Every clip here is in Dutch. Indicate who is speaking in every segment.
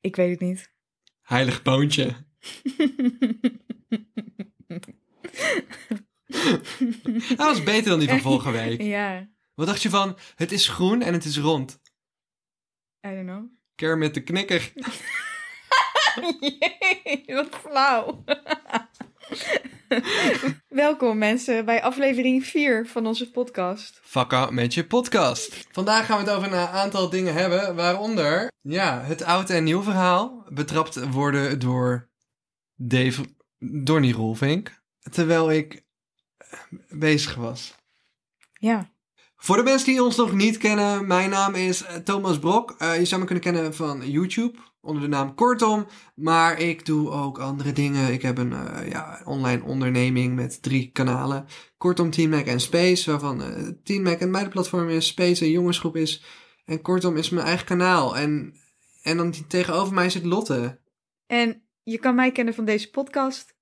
Speaker 1: Ik weet het niet.
Speaker 2: Heilig boontje. Dat was beter dan die van vorige week.
Speaker 1: Ja,
Speaker 2: Wat dacht je van, het is groen en het is rond.
Speaker 1: I don't know.
Speaker 2: Kermit de knikker.
Speaker 1: Jee, wat flauw. Welkom mensen bij aflevering 4 van onze podcast.
Speaker 2: Fuck up met je podcast. Vandaag gaan we het over een aantal dingen hebben, waaronder... Ja, het oud en nieuw verhaal. Betrapt worden door Dave... Donnie Roelvink. Terwijl ik eh, bezig was.
Speaker 1: Ja,
Speaker 2: Voor de mensen die ons nog niet kennen, mijn naam is eh, Thomas Brok. Eh, je zou me kunnen kennen van YouTube onder de naam Kortom. Maar ik doe ook andere dingen. Ik heb een eh, ja, online onderneming met drie kanalen. Kortom Team Mac en Space, waarvan eh, Team Mac een meidenplatform is, Space een jongensgroep is. En Kortom is mijn eigen kanaal. En, en dan die- tegenover mij zit Lotte.
Speaker 1: en je kan mij kennen van deze podcast.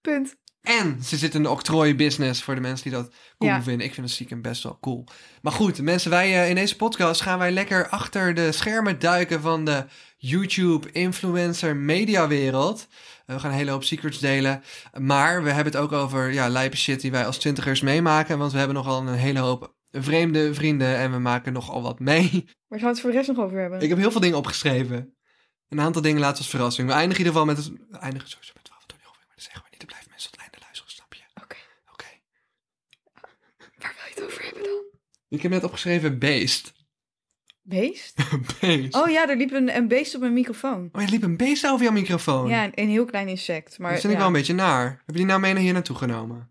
Speaker 1: Punt.
Speaker 2: En ze zit in de octrooienbusiness voor de mensen die dat cool
Speaker 1: Ja.
Speaker 2: vinden. Ik vind het stiekem best wel cool. Maar goed, mensen, wij eh, in deze podcast gaan wij lekker achter de schermen duiken van de YouTube-influencer-mediawereld. Eh, we gaan een hele hoop secrets delen. Maar we hebben het ook over ja, lijpe shit die wij als twintigers meemaken. Want we hebben nogal een hele hoop vreemde vrienden en we maken nogal wat mee.
Speaker 1: Waar gaan we het voor de rest nog over hebben?
Speaker 2: Ik heb heel veel dingen opgeschreven. Een aantal dingen laten we als verrassing. We eindigen in ieder geval met het... We eindigen sowieso met 12 Tony Hofwing, maar dat zeggen we niet. Dan blijven mensen tot het einde luisteren, snap je?
Speaker 1: Oké,
Speaker 2: Oké.
Speaker 1: waar wil je het over hebben dan?
Speaker 2: Ik heb net opgeschreven beest.
Speaker 1: Beest?
Speaker 2: beest. Oh,
Speaker 1: Oh ja, er liep een, een beest op mijn microfoon.
Speaker 2: er liep een beest over jouw microfoon.
Speaker 1: Ja, een, een heel klein insect. Maar,
Speaker 2: dat Oh. vind ik
Speaker 1: ja.
Speaker 2: wel een beetje naar. Heb je die nou mee naar hier naartoe genomen?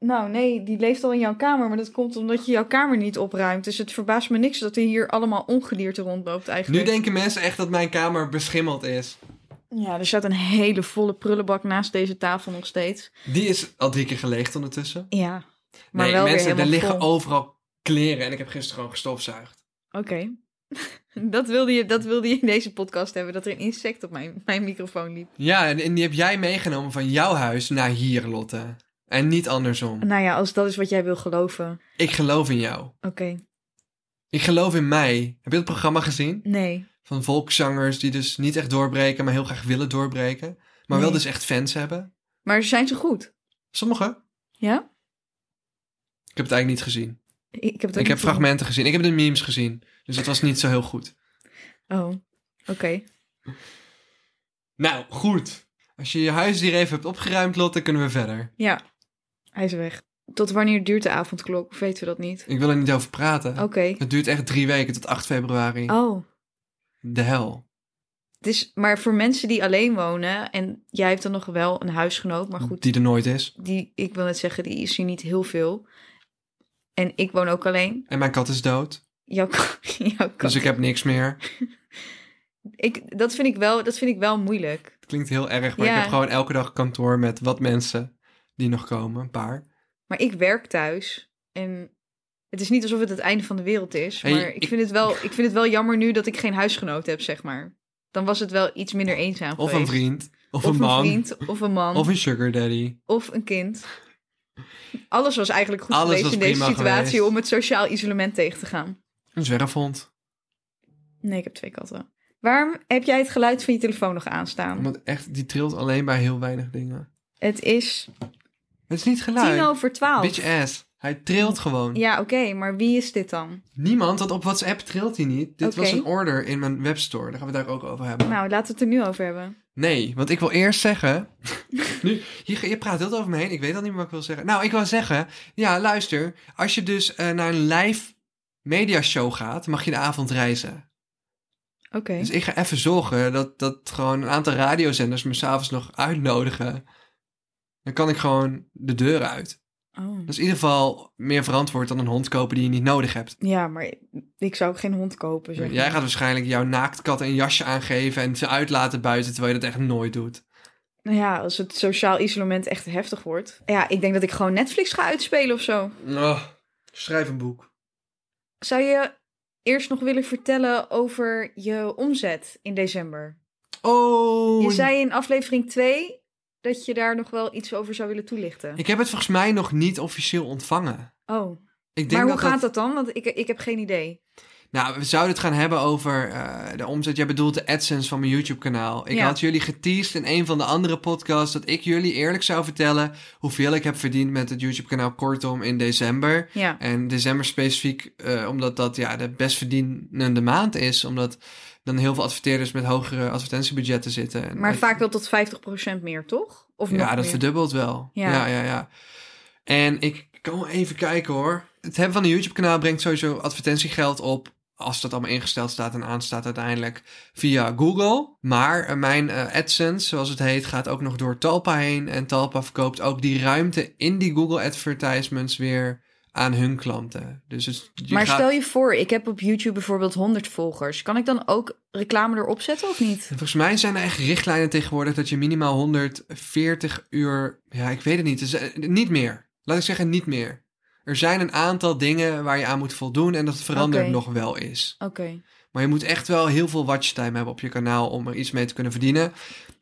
Speaker 1: Nou nee, die leeft al in jouw kamer, maar dat komt omdat je jouw kamer niet opruimt. Dus het verbaast me niks dat hij hier allemaal ongedierte rondloopt
Speaker 2: Nu
Speaker 1: eigenlijk.
Speaker 2: denken mensen echt dat mijn kamer beschimmeld is.
Speaker 1: Ja, er staat een hele volle prullenbak naast deze tafel nog steeds.
Speaker 2: Die is al drie keer geleegd ondertussen.
Speaker 1: Ja, maar
Speaker 2: nee,
Speaker 1: wel
Speaker 2: mensen,
Speaker 1: weer
Speaker 2: er
Speaker 1: helemaal
Speaker 2: liggen
Speaker 1: vol.
Speaker 2: overal kleren en ik heb gisteren gewoon gestofzuigd.
Speaker 1: Oké. dat, wilde je, dat wilde je in deze podcast hebben, dat er een insect op mijn, mijn microfoon liep.
Speaker 2: Ja, en, en die heb jij meegenomen van jouw huis naar hier, Lotte. En niet andersom.
Speaker 1: Nou ja, als dat is wat jij wil geloven.
Speaker 2: Ik geloof in jou.
Speaker 1: Oké,
Speaker 2: Ik geloof in mij. Heb je het programma gezien?
Speaker 1: nee.
Speaker 2: Van volkszangers die dus niet echt doorbreken, maar heel graag willen doorbreken. Maar wel
Speaker 1: Nee.
Speaker 2: dus echt fans hebben.
Speaker 1: Maar zijn ze goed?
Speaker 2: Sommige.
Speaker 1: Ja?
Speaker 2: Ik heb het eigenlijk niet gezien.
Speaker 1: Ik heb, het ook
Speaker 2: Ik heb
Speaker 1: niet gezien.
Speaker 2: fragmenten gezien. Ik heb de memes gezien. Dus dat was niet zo heel goed.
Speaker 1: Oh, oké.
Speaker 2: Nou, goed. Als je je huisdier even hebt opgeruimd, Lotte, kunnen we verder.
Speaker 1: Ja, hij is weg. Tot wanneer duurt de avondklok? Of weten we dat niet?
Speaker 2: Ik wil er niet over praten.
Speaker 1: Oké.
Speaker 2: Het duurt echt drie weken tot 8 februari.
Speaker 1: Oh.
Speaker 2: De hel.
Speaker 1: Het is, maar voor mensen die alleen wonen, en jij hebt dan nog wel een huisgenoot, maar goed,
Speaker 2: Die er nooit is.
Speaker 1: die, ik wil net zeggen, die is hier niet heel veel. En ik woon ook alleen.
Speaker 2: En mijn kat is dood.
Speaker 1: Jouw, ka- jouw kat.
Speaker 2: Dus ik heb niks meer.
Speaker 1: Ik, dat, vind ik wel, dat vind ik wel moeilijk.
Speaker 2: Het klinkt heel erg, maar ik
Speaker 1: Ja.
Speaker 2: heb gewoon elke dag kantoor met wat mensen die nog komen. Een paar.
Speaker 1: Maar ik werk thuis. En het is niet alsof het het einde van de wereld is.
Speaker 2: Hey,
Speaker 1: maar ik,
Speaker 2: ik-
Speaker 1: Vind het wel, ik vind het wel jammer nu dat ik geen huisgenoot heb, zeg maar. Dan was het wel iets minder eenzaam
Speaker 2: Of een
Speaker 1: geweest.
Speaker 2: vriend. Of,
Speaker 1: Of
Speaker 2: een man.
Speaker 1: vriend, of een man,
Speaker 2: Of een sugar daddy.
Speaker 1: of een kind. Alles was eigenlijk goed
Speaker 2: Alles
Speaker 1: geweest
Speaker 2: was
Speaker 1: in deze
Speaker 2: prima
Speaker 1: situatie
Speaker 2: geweest.
Speaker 1: om het sociaal isolement tegen te gaan.
Speaker 2: Een zwerfhond.
Speaker 1: Nee, ik heb twee katten. Waarom heb jij het geluid van je telefoon nog aanstaan?
Speaker 2: Want echt, die trilt alleen bij heel weinig dingen.
Speaker 1: Het is
Speaker 2: Het is niet
Speaker 1: tien
Speaker 2: geluid.
Speaker 1: over twaalf.
Speaker 2: Bitch ass. Hij trilt gewoon.
Speaker 1: Ja, oké, maar wie is dit dan?
Speaker 2: Niemand, want op WhatsApp trilt hij niet. Dit was
Speaker 1: Oké.
Speaker 2: een order in mijn webstore. Daar gaan we het daar ook over hebben.
Speaker 1: Nou, laten we het er nu over hebben.
Speaker 2: Nee, want ik wil eerst zeggen. nu, je, je praat heel over me heen. Ik weet al niet meer wat ik wil zeggen. Nou, ik wil zeggen. Ja, luister. Als je dus eh, naar een live mediashow gaat, mag je de avond reizen.
Speaker 1: Oké.
Speaker 2: Dus ik ga even zorgen dat, dat gewoon een aantal radiozenders me s'avonds nog uitnodigen. Dan kan ik gewoon de deur uit.
Speaker 1: Oh.
Speaker 2: Dat is in ieder geval meer verantwoord dan een hond kopen die je niet nodig hebt.
Speaker 1: Ja, maar ik zou ook geen hond kopen. Zeg.
Speaker 2: Jij gaat waarschijnlijk jouw naaktkat een jasje aangeven en ze uitlaten buiten terwijl je dat echt nooit doet.
Speaker 1: Nou ja, als het sociaal isolement echt heftig wordt. Ja, ik denk dat ik gewoon Netflix ga uitspelen of zo.
Speaker 2: Oh, schrijf een boek.
Speaker 1: Zou je eerst nog willen vertellen over je omzet in december?
Speaker 2: Oh.
Speaker 1: Je zei in aflevering 2 dat je daar nog wel iets over zou willen toelichten.
Speaker 2: Ik heb het volgens mij nog niet officieel ontvangen.
Speaker 1: Oh,
Speaker 2: Ik denk
Speaker 1: maar hoe
Speaker 2: dat
Speaker 1: gaat dat dan? Want ik, ik heb geen idee.
Speaker 2: Nou, we zouden het gaan hebben over eh, de omzet. Jij bedoelt de AdSense van mijn YouTube-kanaal. Ik
Speaker 1: Ja.
Speaker 2: had jullie geteased in een van de andere podcasts dat ik jullie eerlijk zou vertellen hoeveel ik heb verdiend met het YouTube-kanaal Kortom in december.
Speaker 1: Ja.
Speaker 2: En december specifiek, eh, omdat dat ja, de best verdienende maand is. Omdat dan heel veel adverteerders met hogere advertentiebudgetten zitten. En
Speaker 1: Maar
Speaker 2: dat-
Speaker 1: vaak wel tot 50% meer, toch? Of nog
Speaker 2: Ja, dat
Speaker 1: meer?
Speaker 2: verdubbelt wel. Ja.
Speaker 1: Ja.
Speaker 2: ja, ja, En ik kan wel even kijken hoor. Het hebben van een YouTube-kanaal brengt sowieso advertentiegeld op. Als dat allemaal ingesteld staat en aanstaat uiteindelijk via Google. Maar eh, mijn eh, AdSense, zoals het heet, gaat ook nog door Talpa heen. En Talpa verkoopt ook die ruimte in die Google advertisements weer aan hun klanten. Dus het, je
Speaker 1: maar
Speaker 2: gaat-
Speaker 1: stel je voor, ik heb op YouTube bijvoorbeeld 100 volgers. Kan ik dan ook reclame erop zetten of niet?
Speaker 2: Volgens mij zijn er echt richtlijnen tegenwoordig dat je minimaal 140 uur. Ja, ik weet het niet. Dus, eh, niet meer. Laat ik zeggen, niet meer. Er zijn een aantal dingen waar je aan moet voldoen en dat verandert
Speaker 1: Oké.
Speaker 2: nog wel eens.
Speaker 1: Oké.
Speaker 2: Maar je moet echt wel heel veel watchtime hebben op je kanaal om er iets mee te kunnen verdienen.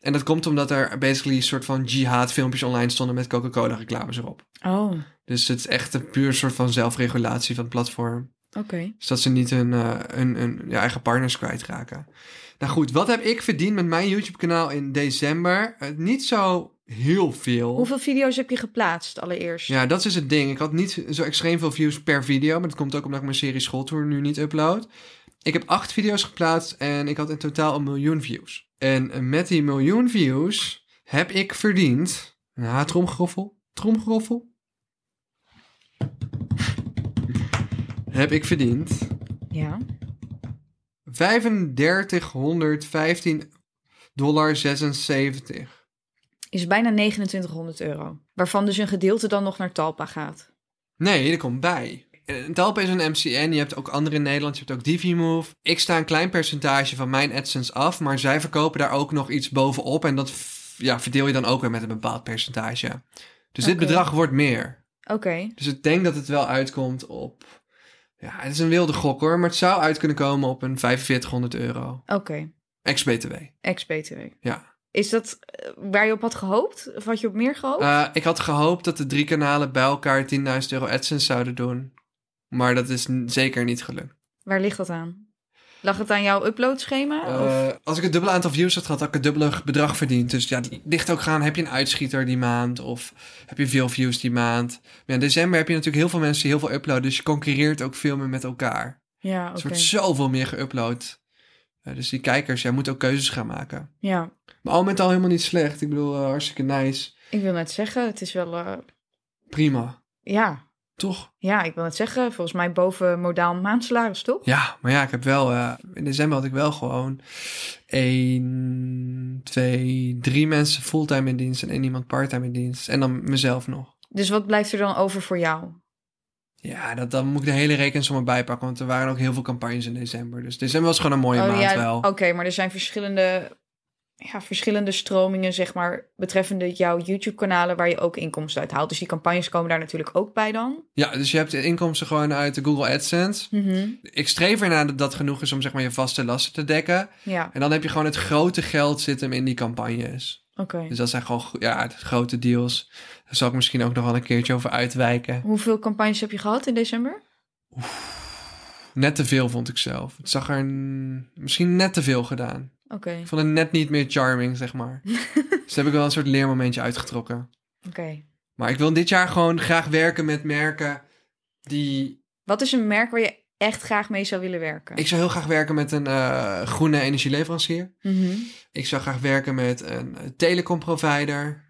Speaker 2: En dat komt omdat er basically een soort van jihad filmpjes online stonden met Coca-Cola reclames erop.
Speaker 1: Oh, oké.
Speaker 2: Dus het is echt een puur soort van zelfregulatie van het platform. Dus dat ze niet hun, eh, hun, hun ja, eigen partners kwijtraken. Nou goed, wat heb ik verdiend met mijn YouTube-kanaal in december? Eh, niet zo heel veel.
Speaker 1: Hoeveel video's heb je geplaatst allereerst?
Speaker 2: Ja, dat is het ding. Ik had niet zo extreem veel views per video. Maar dat komt ook omdat ik mijn serie Schooltour nu niet upload. Ik heb acht video's geplaatst en ik had in totaal een miljoen views. En eh, met die miljoen views heb ik verdiend... Nou, tromgeroffel, tromgeroffel. heb ik verdiend
Speaker 1: Ja.
Speaker 2: 3515 dollar 76.
Speaker 1: Is bijna 2900 euro. Waarvan dus een gedeelte dan nog naar Talpa gaat.
Speaker 2: Nee, er komt bij. Eh, Talpa is een MCN, je hebt ook andere in Nederland, je hebt ook DiviMove. Ik sta een klein percentage van mijn AdSense af, maar zij verkopen daar ook nog iets bovenop. En dat f- ja, verdeel je dan ook weer met een bepaald percentage. Dus dit
Speaker 1: Oké.
Speaker 2: bedrag wordt meer.
Speaker 1: Oké.
Speaker 2: Dus ik denk dat het wel uitkomt op... Ja, het is een wilde gok hoor, maar het zou uit kunnen komen op een 4500 euro.
Speaker 1: Oké.
Speaker 2: Ex-BTW,
Speaker 1: Ex-BTW.
Speaker 2: ja.
Speaker 1: Is dat eh, waar je op had gehoopt? Of had je op meer gehoopt?
Speaker 2: Eh, ik had gehoopt dat de drie kanalen bij elkaar 10.000 euro AdSense zouden doen. Maar dat is n- zeker niet gelukt.
Speaker 1: waar ligt dat aan? Lag het aan jouw uploadschema? of...
Speaker 2: Eh, als ik het dubbele aantal views had gehad, had ik het dubbele bedrag verdiend. Dus ja, het ligt ook gaan. Heb je een uitschieter die maand? Of heb je veel views die maand? Maar ja, in december heb je natuurlijk heel veel mensen die heel veel uploaden. Dus je concurreert ook veel meer met elkaar. Dus
Speaker 1: Ja,
Speaker 2: Er
Speaker 1: oké.
Speaker 2: wordt zoveel meer geüpload. Eh, dus die kijkers, jij moet ook keuzes gaan maken.
Speaker 1: Ja.
Speaker 2: Maar al met al helemaal niet slecht. Ik bedoel, eh, hartstikke nice.
Speaker 1: Ik wil net zeggen, het is wel... eh,
Speaker 2: Prima.
Speaker 1: ja,
Speaker 2: Toch?
Speaker 1: Ja, ik wil het zeggen, volgens mij boven modaal maandsalaris, toch?
Speaker 2: Ja, maar ja, ik heb wel. eh, in december had ik wel gewoon 1, 2, 3 mensen fulltime in dienst en één iemand parttime in dienst. En dan mezelf nog.
Speaker 1: Dus wat blijft er dan over voor jou?
Speaker 2: Ja, dat, dan moet ik de hele rekensom erbij pakken. Want er waren ook heel veel campagnes in december. Dus december was gewoon een mooie maand
Speaker 1: Oh, ja,
Speaker 2: wel.
Speaker 1: oké, maar er zijn verschillende, ja, verschillende stromingen, zeg maar, betreffende jouw YouTube-kanalen waar je ook inkomsten uit haalt. Dus die campagnes komen daar natuurlijk ook bij dan.
Speaker 2: Ja, dus je hebt de inkomsten gewoon uit de Google AdSense.
Speaker 1: Mhm.
Speaker 2: Ik streef ernaar dat dat genoeg is om zeg maar je vaste lasten te dekken.
Speaker 1: Ja,
Speaker 2: En dan heb je gewoon het grote geld zit hem in die campagnes.
Speaker 1: oké.
Speaker 2: Dus dat zijn gewoon go- ja, het grote deals. Daar zal ik misschien ook nog wel een keertje over uitwijken.
Speaker 1: Hoeveel campagnes heb je gehad in december?
Speaker 2: Net te veel vond ik zelf. Het zag er n- misschien net te veel gedaan.
Speaker 1: Oké,
Speaker 2: Ik vond het net niet meer charming, zeg maar. dus daar heb ik wel een soort leermomentje uitgetrokken.
Speaker 1: oké.
Speaker 2: Maar ik wil dit jaar gewoon graag werken met merken die...
Speaker 1: Wat is een merk waar je echt graag mee zou willen werken.
Speaker 2: Ik zou heel graag werken met een eh, groene energieleverancier.
Speaker 1: Mhm.
Speaker 2: Ik zou graag werken met een eh, telecomprovider.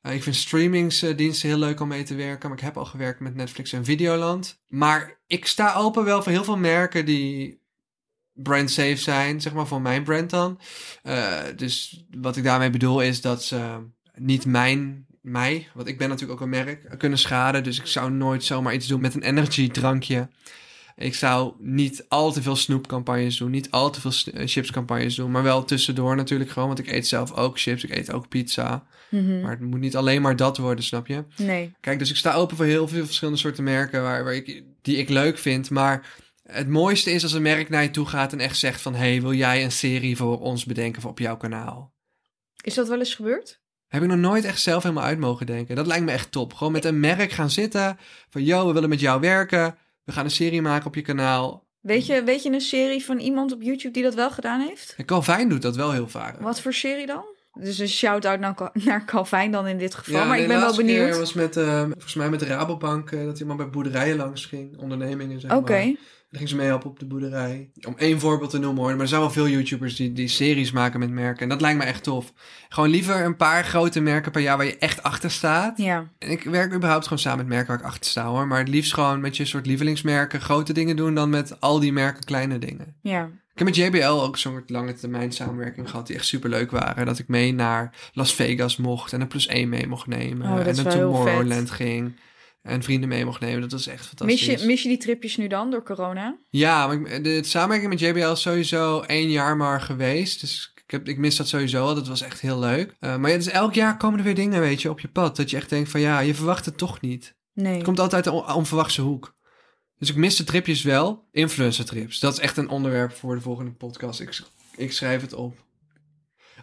Speaker 2: Eh, ik vind streamingsdiensten heel leuk om mee te werken. Maar ik heb al gewerkt met Netflix en Videoland. Maar ik sta open wel voor heel veel merken die brand safe zijn. Zeg maar voor mijn brand dan. Eh, dus wat ik daarmee bedoel is dat ze niet mijn... Mij, want ik ben natuurlijk ook een merk, kunnen schaden. Dus ik zou nooit zomaar iets doen met een energy drankje. Ik zou niet al te veel snoepcampagnes doen, niet al te veel s- eh, chipscampagnes doen, maar wel tussendoor natuurlijk gewoon, want ik eet zelf ook chips, ik eet ook pizza.
Speaker 1: Mhm.
Speaker 2: Maar het moet niet alleen maar dat worden, snap je?
Speaker 1: Nee.
Speaker 2: Kijk, dus ik sta open voor heel veel verschillende soorten merken waar, waar ik, die ik leuk vind, maar het mooiste is als een merk naar je toe gaat en echt zegt van, hey, wil jij een serie voor ons bedenken voor op jouw kanaal?
Speaker 1: Is dat wel eens gebeurd?
Speaker 2: Heb ik nog nooit echt zelf helemaal uit mogen denken. Dat lijkt me echt top. Gewoon met een merk gaan zitten van, yo, we willen met jou werken, we gaan een serie maken op je kanaal.
Speaker 1: Weet je, weet je een serie van iemand op YouTube die dat wel gedaan heeft?
Speaker 2: En Calvin doet dat wel heel vaak.
Speaker 1: Wat voor serie dan? Dus een shout-out naar, Cal- naar Calvin dan in dit geval.
Speaker 2: Ja,
Speaker 1: maar
Speaker 2: de
Speaker 1: ik ben wel
Speaker 2: laatste
Speaker 1: benieuwd.
Speaker 2: keer was met, eh, volgens mij met de Rabobank, eh, dat iemand bij boerderijen langs ging, ondernemingen zeg
Speaker 1: Oké.
Speaker 2: maar. Dan ging ze mee op op de boerderij. Om één voorbeeld te noemen hoor, maar er zijn wel veel YouTubers die, die series maken met merken. En dat lijkt me echt tof. Gewoon liever een paar grote merken per jaar waar je echt achter staat.
Speaker 1: Ja.
Speaker 2: En ik werk überhaupt gewoon samen met merken waar ik achter sta hoor. Maar het liefst gewoon met je soort lievelingsmerken grote dingen doen dan met al die merken kleine dingen.
Speaker 1: Ja.
Speaker 2: Ik heb met JBL ook zo'n soort lange termijn samenwerking gehad die echt super leuk waren. Dat ik mee naar Las Vegas mocht en een plus één mee mocht nemen.
Speaker 1: Oh, dat
Speaker 2: en
Speaker 1: is
Speaker 2: naar
Speaker 1: wel heel
Speaker 2: Tomorrowland
Speaker 1: vet.
Speaker 2: ging. En vrienden mee mocht nemen. Dat was echt
Speaker 1: Mis
Speaker 2: fantastisch.
Speaker 1: je, mis je die tripjes nu dan door corona?
Speaker 2: Ja, maar ik- de samenwerking met JBL is sowieso één jaar maar geweest. Dus ik, heb, ik mis dat sowieso al. Dat was echt heel leuk. Eh, maar ja, dus elk jaar komen er weer dingen, weet je, op je pad. Dat je echt denkt van ja, je verwacht het toch niet.
Speaker 1: Nee.
Speaker 2: Het komt altijd uit de on- onverwachte hoek. Dus ik mis de tripjes wel. Influencer trips. Dat is echt een onderwerp voor de volgende podcast. Ik, sch- ik schrijf het op.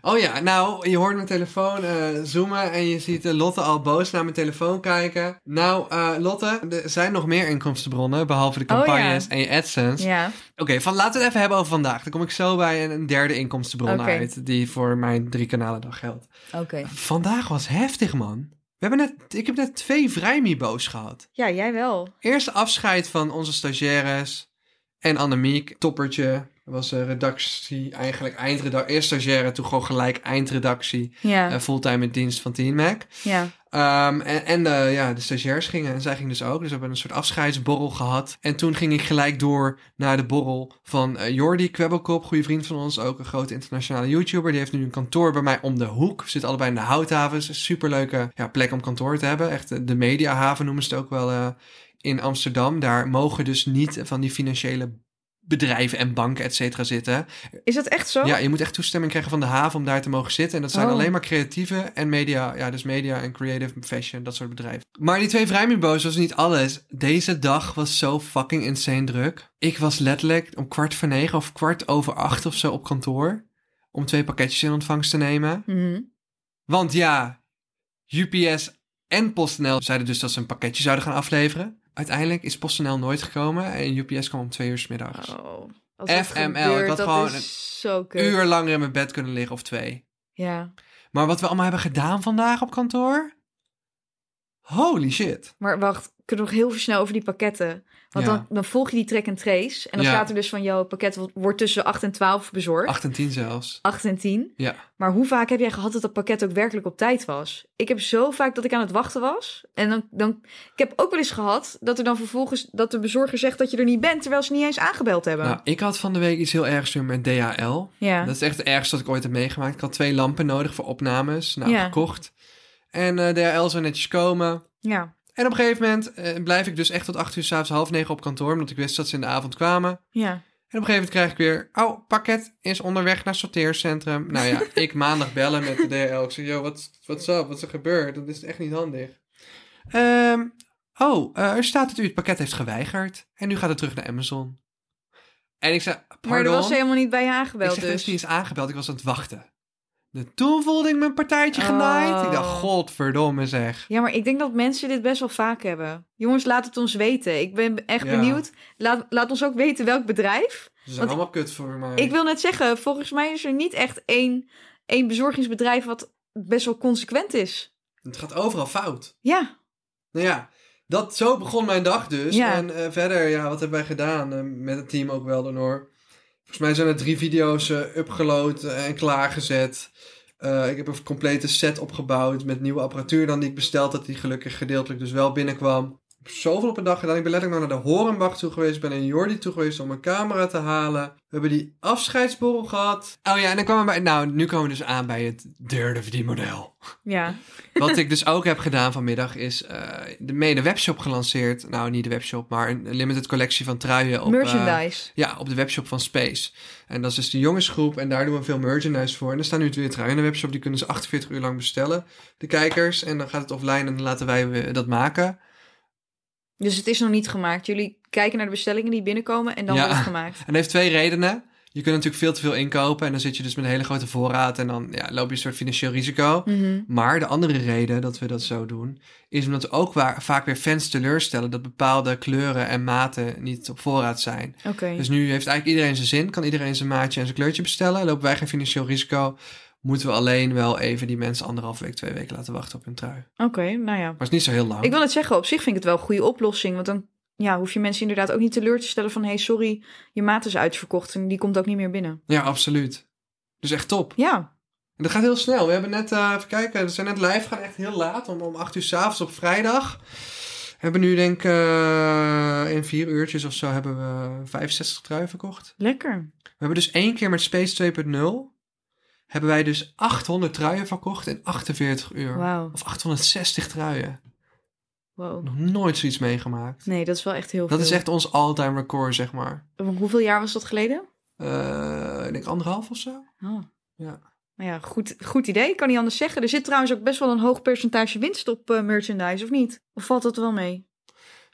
Speaker 2: Oh ja, nou, je hoort mijn telefoon eh, zoomen en je ziet eh, Lotte al boos naar mijn telefoon kijken. Nou, eh, Lotte, er zijn nog meer inkomstenbronnen, behalve de
Speaker 1: Oh ja.
Speaker 2: campagnes en je AdSense.
Speaker 1: Ja.
Speaker 2: Oké, van, laten we het even hebben over vandaag. Dan kom ik zo bij een, een derde inkomstenbron
Speaker 1: Oké.
Speaker 2: uit, die voor mijn drie kanalen dan geldt.
Speaker 1: Oké.
Speaker 2: Vandaag was heftig, man. We hebben net, ik heb net twee vrijmibo's gehad.
Speaker 1: Ja, jij wel.
Speaker 2: Eerst afscheid van onze stagiaires en Annemiek. Toppertje was eh, redactie, eigenlijk eindredactie. Eerst stagiaire, toen gewoon gelijk eindredactie.
Speaker 1: Ja.
Speaker 2: eh, fulltime in dienst van Team Mac.
Speaker 1: ja.
Speaker 2: Ehm, en en eh, ja, de stagiairs gingen en zij ging dus ook. Dus we hebben een soort afscheidsborrel gehad. En toen ging ik gelijk door naar de borrel van eh, Jordi Kwebbelkop. Goede vriend van ons, ook een grote internationale YouTuber. Die heeft nu een kantoor bij mij om de hoek. We zitten allebei in de houthavens. Superleuke ja, plek om kantoor te hebben. Echt eh, de mediahaven noemen ze het ook wel eh, in Amsterdam. Daar mogen dus niet van die financiële bedrijven en banken, et cetera, zitten.
Speaker 1: Is dat echt zo?
Speaker 2: Ja, je moet echt toestemming krijgen van de haven om daar te mogen zitten. En dat zijn
Speaker 1: Oh.
Speaker 2: alleen maar creatieve en media. Ja, dus media en creative fashion, dat soort bedrijven. Maar die twee vrijmibo's was niet alles. Deze dag was zo fucking insane druk. Ik was letterlijk om kwart voor negen of kwart over acht of zo op kantoor. Om twee pakketjes in ontvangst te nemen.
Speaker 1: Mhm.
Speaker 2: Want ja, UPS en PostNL zeiden dus dat ze een pakketje zouden gaan afleveren. Uiteindelijk is PostNL nooit gekomen en UPS kwam om twee uur 's middags.
Speaker 1: Oh. Als dat
Speaker 2: FML, ik
Speaker 1: Gebeurt,
Speaker 2: had
Speaker 1: dat
Speaker 2: gewoon
Speaker 1: is
Speaker 2: een
Speaker 1: zo kut.
Speaker 2: Uur langer in mijn bed kunnen liggen of twee.
Speaker 1: Ja.
Speaker 2: Maar wat we allemaal hebben gedaan vandaag op kantoor? Holy shit.
Speaker 1: Maar wacht, ik kan nog heel veel snel over die pakketten. Want
Speaker 2: Ja.
Speaker 1: dan, dan volg je die track en trace. En dan
Speaker 2: Ja.
Speaker 1: staat er dus van, jouw pakket wo- wordt tussen 8 en 12 bezorgd. 8,
Speaker 2: 8 en 10 zelfs.
Speaker 1: en 10.
Speaker 2: Ja.
Speaker 1: Maar hoe vaak heb jij gehad dat dat pakket ook werkelijk op tijd was? Ik heb zo vaak dat ik aan het wachten was. En dan, dan ik heb ook wel eens gehad dat er dan vervolgens dat de bezorger zegt dat je er niet bent, terwijl ze niet eens aangebeld hebben.
Speaker 2: Nou, ik had van de week iets heel ergs weer met DHL.
Speaker 1: ja.
Speaker 2: Dat is echt het ergste wat ik ooit heb meegemaakt. Ik had twee lampen nodig voor opnames. Nou,
Speaker 1: Ja.
Speaker 2: gekocht. En eh, DHL zou netjes komen.
Speaker 1: ja.
Speaker 2: En op een gegeven moment eh, blijf ik dus echt tot 8 uur s'avonds half negen op kantoor. Omdat ik wist dat ze in de avond kwamen.
Speaker 1: Ja.
Speaker 2: En op een gegeven moment krijg ik weer... Oh, pakket is onderweg naar sorteercentrum. Nou ja, ik maandag bellen met de DHL. Ik zeg, yo, wat what's up? Wat is er gebeurd? Dat is echt niet handig. Ehm, oh, eh, er staat dat u het pakket heeft geweigerd. En nu gaat het terug naar Amazon. En ik zei, pardon?
Speaker 1: Maar er was helemaal niet bij je
Speaker 2: ik
Speaker 1: aangebeld.
Speaker 2: zeg, er
Speaker 1: dus.
Speaker 2: is niet eens aangebeld. Ik was aan het wachten. En toen voelde ik mijn partijtje genaaid. Ik dacht,
Speaker 1: Oh.
Speaker 2: godverdomme zeg.
Speaker 1: Ja, maar ik denk dat mensen dit best wel vaak hebben. Jongens, laat het ons weten. Ik ben echt
Speaker 2: Ja.
Speaker 1: benieuwd. Laat, laat ons ook weten welk bedrijf.
Speaker 2: Ze zijn
Speaker 1: Want
Speaker 2: allemaal kut voor mij.
Speaker 1: Ik wil net zeggen, volgens mij is er niet echt één, één bezorgingsbedrijf wat best wel consequent is.
Speaker 2: Het gaat overal fout.
Speaker 1: Ja,
Speaker 2: Nou ja, dat, zo begon mijn dag dus.
Speaker 1: Ja.
Speaker 2: En eh, verder, ja, wat hebben wij gedaan? Eh, met het team ook wel, Donor. Volgens mij zijn er drie video's eh upgeload eh, en klaargezet. Eh, ik heb een complete set opgebouwd met nieuwe apparatuur dan die ik besteld had. Die gelukkig gedeeltelijk dus wel binnenkwam. Ik heb zoveel op een dag gedaan. Ik ben letterlijk nog naar de Horenbach toe geweest. Ik ben naar Jordi toe geweest om een camera te halen. We hebben die afscheidsborrel gehad. Oh ja, en dan kwamen we bij... Nou, nu komen we dus aan bij het derde verdienmodel.
Speaker 1: Ja.
Speaker 2: Wat ik dus ook heb gedaan vanmiddag is eh de mede webshop gelanceerd. Nou, niet de webshop, maar een limited collectie van truien. Op, eh,
Speaker 1: Merchandise.
Speaker 2: ja, op de webshop van Space. En dat is dus de jongensgroep en daar doen we veel merchandise voor. En er staan nu twee truien in de webshop, die kunnen ze 48 uur lang bestellen, de kijkers. En dan gaat het offline en dan laten wij eh, dat maken.
Speaker 1: Dus het is nog niet gemaakt. Jullie kijken naar de bestellingen die binnenkomen en dan
Speaker 2: Ja.
Speaker 1: wordt het gemaakt.
Speaker 2: En dat heeft twee redenen. Je kunt natuurlijk veel te veel inkopen en dan zit je dus met een hele grote voorraad en dan ja, loop je een soort financieel risico.
Speaker 1: Mhm.
Speaker 2: Maar de andere reden dat we dat zo doen, is omdat we ook wa- vaak weer fans teleurstellen dat bepaalde kleuren en maten niet op voorraad zijn.
Speaker 1: Oké.
Speaker 2: Dus nu heeft eigenlijk iedereen zijn zin, kan iedereen zijn maatje en zijn kleurtje bestellen, lopen wij geen financieel risico. Moeten we alleen wel even die mensen anderhalf week, twee weken laten wachten op hun trui. Maar
Speaker 1: Oké, nou ja.
Speaker 2: het is niet zo heel lang.
Speaker 1: Ik wil het zeggen, op zich vind ik het wel een goede oplossing. Want dan ja, hoef je mensen inderdaad ook niet teleur te stellen van... hé, hey, sorry, je maat is uitverkocht en die komt ook niet meer binnen.
Speaker 2: Ja, absoluut. Dus echt top.
Speaker 1: Ja,
Speaker 2: En dat gaat heel snel. We hebben net, eh, even kijken, we zijn net live gaan echt heel laat, om, om 8 uur s'avonds op vrijdag. We hebben nu denk ik eh, in vier uurtjes of zo hebben we 65 truien verkocht.
Speaker 1: lekker.
Speaker 2: We hebben dus één keer met Space 2.0, hebben wij dus 800 truien verkocht in 48 uur.
Speaker 1: Wauw.
Speaker 2: Of 860 truien.
Speaker 1: Wow.
Speaker 2: Nog nooit zoiets meegemaakt.
Speaker 1: Nee, dat is wel echt heel
Speaker 2: Dat
Speaker 1: veel.
Speaker 2: is echt ons all-time record, zeg maar.
Speaker 1: Want Hoeveel jaar was dat geleden?
Speaker 2: Eh, ik denk anderhalf of zo.
Speaker 1: Oh.
Speaker 2: Ja.
Speaker 1: Nou ja, goed, goed idee. Ik kan niet anders zeggen. Er zit trouwens ook best wel een hoog percentage winst op eh, merchandise, of niet? Of valt dat wel mee?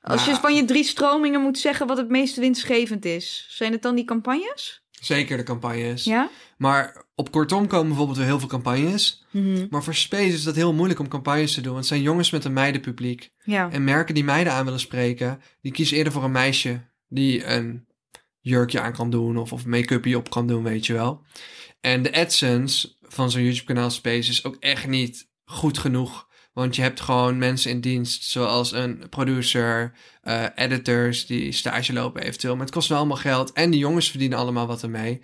Speaker 1: Als je
Speaker 2: Nou.
Speaker 1: van je drie stromingen moet zeggen wat het meest winstgevend is, zijn het dan die campagnes?
Speaker 2: Zeker de campagnes.
Speaker 1: Ja?
Speaker 2: Maar op kortom komen bijvoorbeeld weer heel veel campagnes.
Speaker 1: Mhm.
Speaker 2: Maar voor Space is dat heel moeilijk om campagnes te doen. Want het zijn jongens met een meidenpubliek.
Speaker 1: Ja.
Speaker 2: En merken die meiden aan willen spreken, die kiezen eerder voor een meisje die een jurkje aan kan doen of, of make-upje op kan doen, weet je wel. En de AdSense van zo'n YouTube-kanaal Space is ook echt niet goed genoeg. Want je hebt gewoon mensen in dienst, zoals een producer, eh, editors die stage lopen eventueel. Maar het kost wel allemaal geld en de jongens verdienen allemaal wat ermee.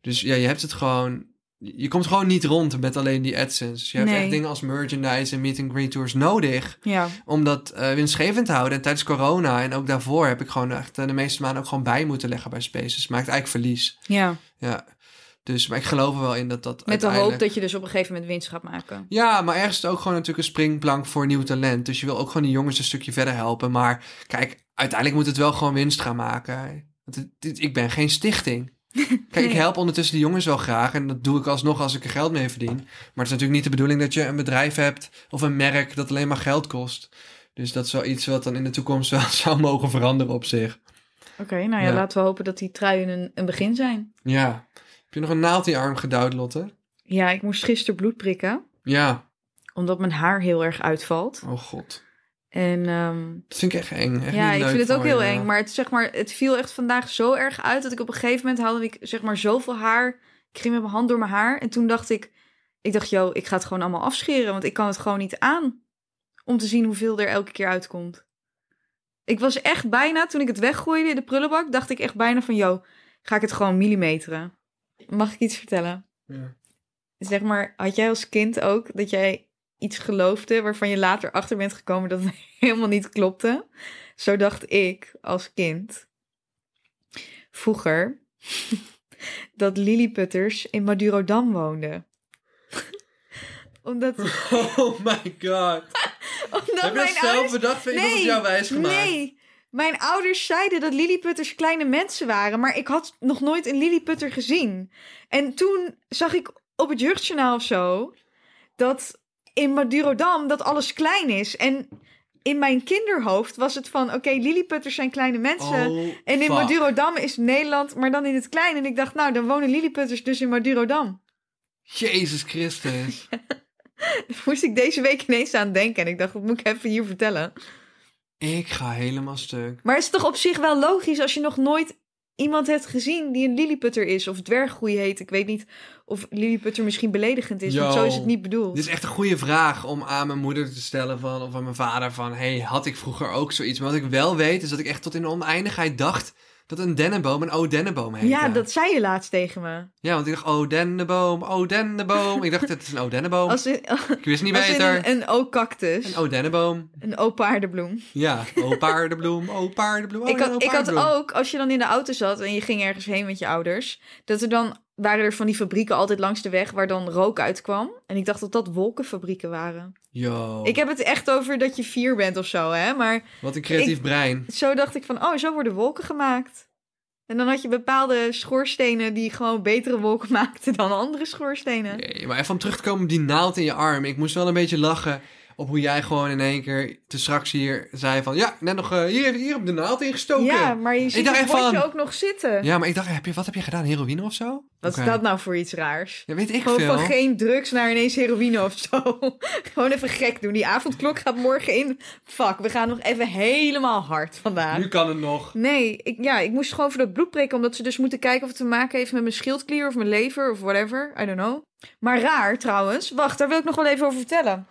Speaker 2: Dus ja, je hebt het gewoon... Je komt gewoon niet rond met alleen die AdSense. Dus Je hebt
Speaker 1: Nee.
Speaker 2: echt dingen als merchandise en meet-and-greet tours nodig
Speaker 1: ja.
Speaker 2: om dat eh, winstgevend te houden. En tijdens corona en ook daarvoor heb ik gewoon echt eh, de meeste maanden ook gewoon bij moeten leggen bij Spaces. Maakt eigenlijk verlies.
Speaker 1: Ja.
Speaker 2: Ja. Dus, maar ik geloof er wel in dat dat
Speaker 1: Met de hoop
Speaker 2: uiteindelijk-
Speaker 1: dat je dus op een gegeven moment winst gaat maken.
Speaker 2: Ja, maar ergens is het ook gewoon natuurlijk een springplank voor nieuw talent. Dus je wil ook gewoon die jongens een stukje verder helpen. Maar kijk, uiteindelijk moet het wel gewoon winst gaan maken. Want het- dit- ik ben geen stichting. Kijk, ik
Speaker 1: Nee.
Speaker 2: help ondertussen de jongens wel graag. En dat doe ik alsnog als ik er geld mee verdien. Maar het is natuurlijk niet de bedoeling dat je een bedrijf hebt of een merk dat alleen maar geld kost. Dus dat is wel iets wat dan in de toekomst wel zou mogen veranderen op zich.
Speaker 1: Oké, nou ja,
Speaker 2: Ja.
Speaker 1: laten we hopen dat die truien een, een begin zijn.
Speaker 2: Ja. Heb je nog een naald in je arm geduwd, Lotte?
Speaker 1: Ja, ik moest gisteren bloed prikken,
Speaker 2: Ja.
Speaker 1: omdat mijn haar heel erg uitvalt.
Speaker 2: Oh god.
Speaker 1: En ehm,
Speaker 2: Dat vind ik echt eng. Echt
Speaker 1: ja,
Speaker 2: niet
Speaker 1: ik
Speaker 2: leuk
Speaker 1: vind het ook
Speaker 2: voor
Speaker 1: heel
Speaker 2: je. eh.
Speaker 1: eng. Maar het, zeg maar het viel echt vandaag zo erg uit dat ik op een gegeven moment haalde ik zeg maar zoveel haar. Ik ging met mijn hand door mijn haar. En toen dacht ik, ik dacht, yo, ik ga het gewoon allemaal afscheren. Want ik kan het gewoon niet aan. Om te zien hoeveel er elke keer uitkomt. Ik was echt bijna, toen ik het weggooide in de prullenbak, dacht ik echt bijna van, yo, ga ik het gewoon millimeteren. Mag ik iets vertellen?
Speaker 2: Ja.
Speaker 1: Zeg maar, had jij als kind ook dat jij iets geloofde waarvan je later achter bent gekomen dat het helemaal niet klopte? Zo dacht ik als kind vroeger dat Lilliputters in Madurodam woonden. omdat
Speaker 2: Oh my god.
Speaker 1: omdat
Speaker 2: Heb je
Speaker 1: mijn
Speaker 2: dat zelf
Speaker 1: ouders...
Speaker 2: bedacht? Vind je dat op jou wijs gemaakt?
Speaker 1: Nee, mijn ouders zeiden dat Lilliputters kleine mensen waren, maar ik had nog nooit een Lilliputter gezien. En toen zag ik op het jeugdjournaal of zo dat in Madurodam dat alles klein is. En in mijn kinderhoofd was het van, oké, Lilliputters zijn kleine mensen.
Speaker 2: Oh,
Speaker 1: En in
Speaker 2: fuck.
Speaker 1: Madurodam is Nederland, maar dan in het klein. En ik dacht, nou, dan wonen Lilliputters dus in Madurodam.
Speaker 2: Jezus Christus.
Speaker 1: Daar moest ik deze week ineens aan denken. En ik dacht, dat moet ik even hier vertellen.
Speaker 2: Ik ga helemaal stuk.
Speaker 1: Maar het is toch op zich wel logisch als je nog nooit iemand heeft gezien die een lilliputter is of dwerggroei heet. Ik weet niet of lilliputter misschien beledigend is,
Speaker 2: Yo.
Speaker 1: want zo is het niet bedoeld.
Speaker 2: Dit is echt een goede vraag om aan mijn moeder te stellen van, of aan mijn vader van... hey, had ik vroeger ook zoiets? Maar wat ik wel weet is dat ik echt tot in de oneindigheid dacht... dat een dennenboom een o-dennenboom heette.
Speaker 1: ja, dat zei je laatst tegen me.
Speaker 2: ja, want ik dacht oh, o-dennenboom, o-dennenboom. ik dacht, het is een o-dennenboom.
Speaker 1: Als in,
Speaker 2: Ik wist niet
Speaker 1: als in
Speaker 2: beter.
Speaker 1: een, een o-cactus,
Speaker 2: Een o-dennenboom.
Speaker 1: een o-paardenbloem.
Speaker 2: Ja, oh, o-paardenbloem, o-paardenbloem.
Speaker 1: ik, had, oh. ik had
Speaker 2: o-dennenboom.
Speaker 1: ook, als je dan in de auto zat en je ging ergens heen met je ouders, dat er dan waren er van die fabrieken altijd langs de weg waar dan rook uitkwam. En ik dacht dat dat wolkenfabrieken waren.
Speaker 2: Yo,
Speaker 1: Ik heb het echt over dat je vier bent of zo, hè? Maar
Speaker 2: wat een creatief
Speaker 1: ik-
Speaker 2: brein.
Speaker 1: zo dacht ik van, oh, zo worden wolken gemaakt. En dan had je bepaalde schoorstenen die gewoon betere wolken maakten dan andere schoorstenen.
Speaker 2: Nee, Eh, maar even om terug te komen op die naald in je arm. Ik moest wel een beetje lachen op hoe jij gewoon in één keer te straks hier zei van... Ja, net nog eh, hier, hier op de naald ingestoken.
Speaker 1: Ja, maar je ziet
Speaker 2: dacht
Speaker 1: het
Speaker 2: echt van-
Speaker 1: bordje ook nog zitten.
Speaker 2: Ja, maar ik dacht, heb je, wat heb je gedaan? Heroïne of zo?
Speaker 1: Wat
Speaker 2: Oké.
Speaker 1: is dat nou voor iets raars?
Speaker 2: Ja, weet ik
Speaker 1: Gewoon
Speaker 2: veel.
Speaker 1: van geen drugs naar ineens heroïne of zo. Gewoon even gek doen. Die avondklok gaat morgen in. Fuck, we gaan nog even helemaal hard vandaag.
Speaker 2: Nu kan het nog.
Speaker 1: Nee, ik, ja, ik moest gewoon voor dat bloed prikken. Omdat ze dus moeten kijken of het te maken heeft met mijn schildklier of mijn lever of whatever. I don't know. Maar raar trouwens. Wacht, daar wil ik nog wel even over vertellen.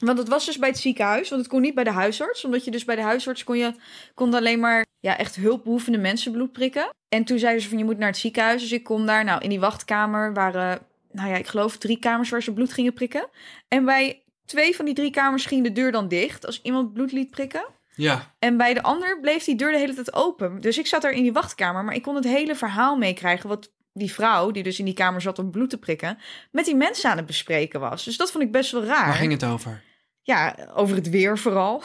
Speaker 1: Want het was dus bij het ziekenhuis. Want het kon niet bij de huisarts. Omdat je dus bij de huisarts kon je kon alleen maar ja, echt hulpbehoevende mensen bloed prikken. En toen zeiden ze van je moet naar het ziekenhuis. Dus ik kom daar. Nou, in die wachtkamer waren, nou ja, ik geloof drie kamers waar ze bloed gingen prikken. En bij twee van die drie kamers ging de deur dan dicht. Als iemand bloed liet prikken.
Speaker 2: Ja,
Speaker 1: En bij de ander bleef die deur de hele tijd open. Dus ik zat daar in die wachtkamer, maar ik kon het hele verhaal meekrijgen. Wat die vrouw, die dus in die kamer zat om bloed te prikken, met die mensen aan het bespreken was. Dus dat vond ik best wel raar.
Speaker 2: waar ging het over?
Speaker 1: Ja, over het weer vooral.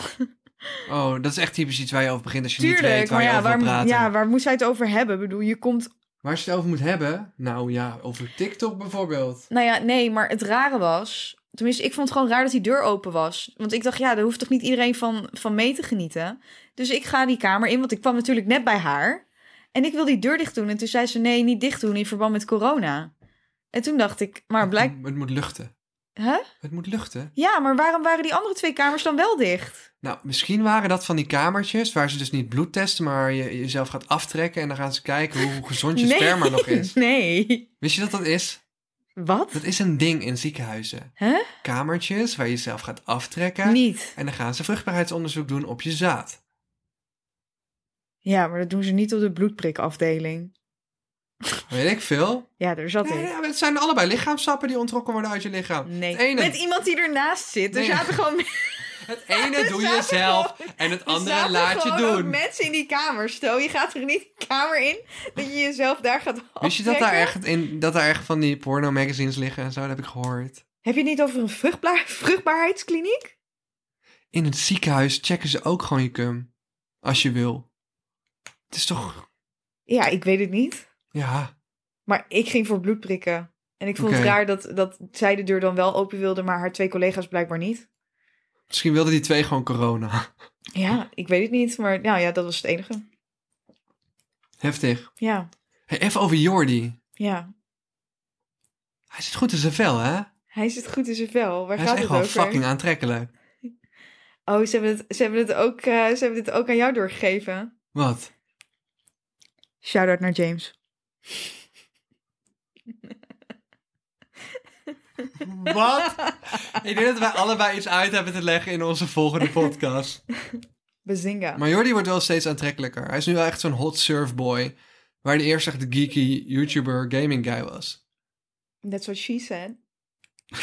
Speaker 2: Oh, dat is echt typisch iets waar je over begint als je niet
Speaker 1: Tuurlijk,
Speaker 2: weet waar
Speaker 1: maar
Speaker 2: je
Speaker 1: ja
Speaker 2: over wil
Speaker 1: waar,
Speaker 2: praten.
Speaker 1: ja, waar moest zij het over hebben? Ik bedoel, je komt.
Speaker 2: Waar je het over moet hebben? Nou ja, over TikTok bijvoorbeeld.
Speaker 1: Nou ja, nee, maar het rare was. Tenminste, ik vond het gewoon raar dat die deur open was. Want ik dacht, ja, daar hoeft toch niet iedereen van, van mee te genieten. Dus ik ga die kamer in, want ik kwam natuurlijk net bij haar. En ik wil die deur dicht doen. En toen zei ze, nee, niet dicht doen in verband met corona. En toen dacht ik, maar blijk...
Speaker 2: Het moet luchten.
Speaker 1: Hè?
Speaker 2: Het moet luchten.
Speaker 1: Ja, maar waarom waren die andere twee kamers dan wel dicht?
Speaker 2: Nou, misschien waren dat van die kamertjes waar ze dus niet bloed testen, maar je jezelf gaat aftrekken en dan gaan ze kijken hoe gezond je sperma nog is.
Speaker 1: nee.
Speaker 2: Wist je dat dat is?
Speaker 1: Wat?
Speaker 2: Dat is een ding in ziekenhuizen.
Speaker 1: Hè?
Speaker 2: Kamertjes waar je jezelf gaat aftrekken
Speaker 1: Niet.
Speaker 2: en dan gaan ze vruchtbaarheidsonderzoek doen op je zaad.
Speaker 1: Ja, maar dat doen ze niet op de bloedprikafdeling.
Speaker 2: Weet ik veel.
Speaker 1: Ja, daar zat
Speaker 2: Nee,
Speaker 1: ik.
Speaker 2: ja, maar het zijn allebei lichaamsappen die ontrokken worden uit je lichaam.
Speaker 1: Nee.
Speaker 2: Het ene,
Speaker 1: Met iemand die ernaast zit. Er
Speaker 2: Nee.
Speaker 1: zaten gewoon
Speaker 2: het ene doe je
Speaker 1: zaten
Speaker 2: zelf en het
Speaker 1: Er
Speaker 2: andere
Speaker 1: zaten
Speaker 2: laat je
Speaker 1: gewoon ook
Speaker 2: doen.
Speaker 1: mensen in die kamer. Stel, je gaat er niet de kamer in dat je jezelf daar gaat
Speaker 2: Wist je dat daar,
Speaker 1: aftrekken?
Speaker 2: echt in, dat daar echt van die porno magazines liggen en zo? Dat heb ik gehoord.
Speaker 1: Heb je het niet over een vruchtbaar, vruchtbaarheidskliniek?
Speaker 2: In het ziekenhuis checken ze ook gewoon je cum. Als je wil. Het is toch...
Speaker 1: Ja, ik weet het niet.
Speaker 2: Ja.
Speaker 1: Maar ik ging voor bloedprikken. En ik vond het
Speaker 2: Oké.
Speaker 1: raar dat, dat zij de deur dan wel open wilde, maar haar twee collega's blijkbaar niet.
Speaker 2: Misschien wilden die twee gewoon corona.
Speaker 1: Ja, ik weet het niet, maar nou ja, dat was het enige.
Speaker 2: Heftig.
Speaker 1: Ja,
Speaker 2: Hey, even over Jordi.
Speaker 1: ja.
Speaker 2: Hij zit goed in zijn vel, hè?
Speaker 1: Hij zit goed in zijn vel. Waar
Speaker 2: Hij is
Speaker 1: gaat
Speaker 2: echt
Speaker 1: het
Speaker 2: wel
Speaker 1: over?
Speaker 2: fucking aantrekkelijk.
Speaker 1: Oh, ze hebben, het, ze, hebben het ook, eh, ze hebben dit ook aan jou doorgegeven.
Speaker 2: Wat?
Speaker 1: Shout-out naar James.
Speaker 2: Wat? ik denk dat wij allebei iets uit hebben te leggen in onze volgende podcast.
Speaker 1: Bazinga.
Speaker 2: Maar Jordi wordt wel steeds aantrekkelijker. Hij is nu wel echt zo'n hot surfboy. Waar hij eerst echt de geeky YouTuber gaming guy was.
Speaker 1: That's what she said.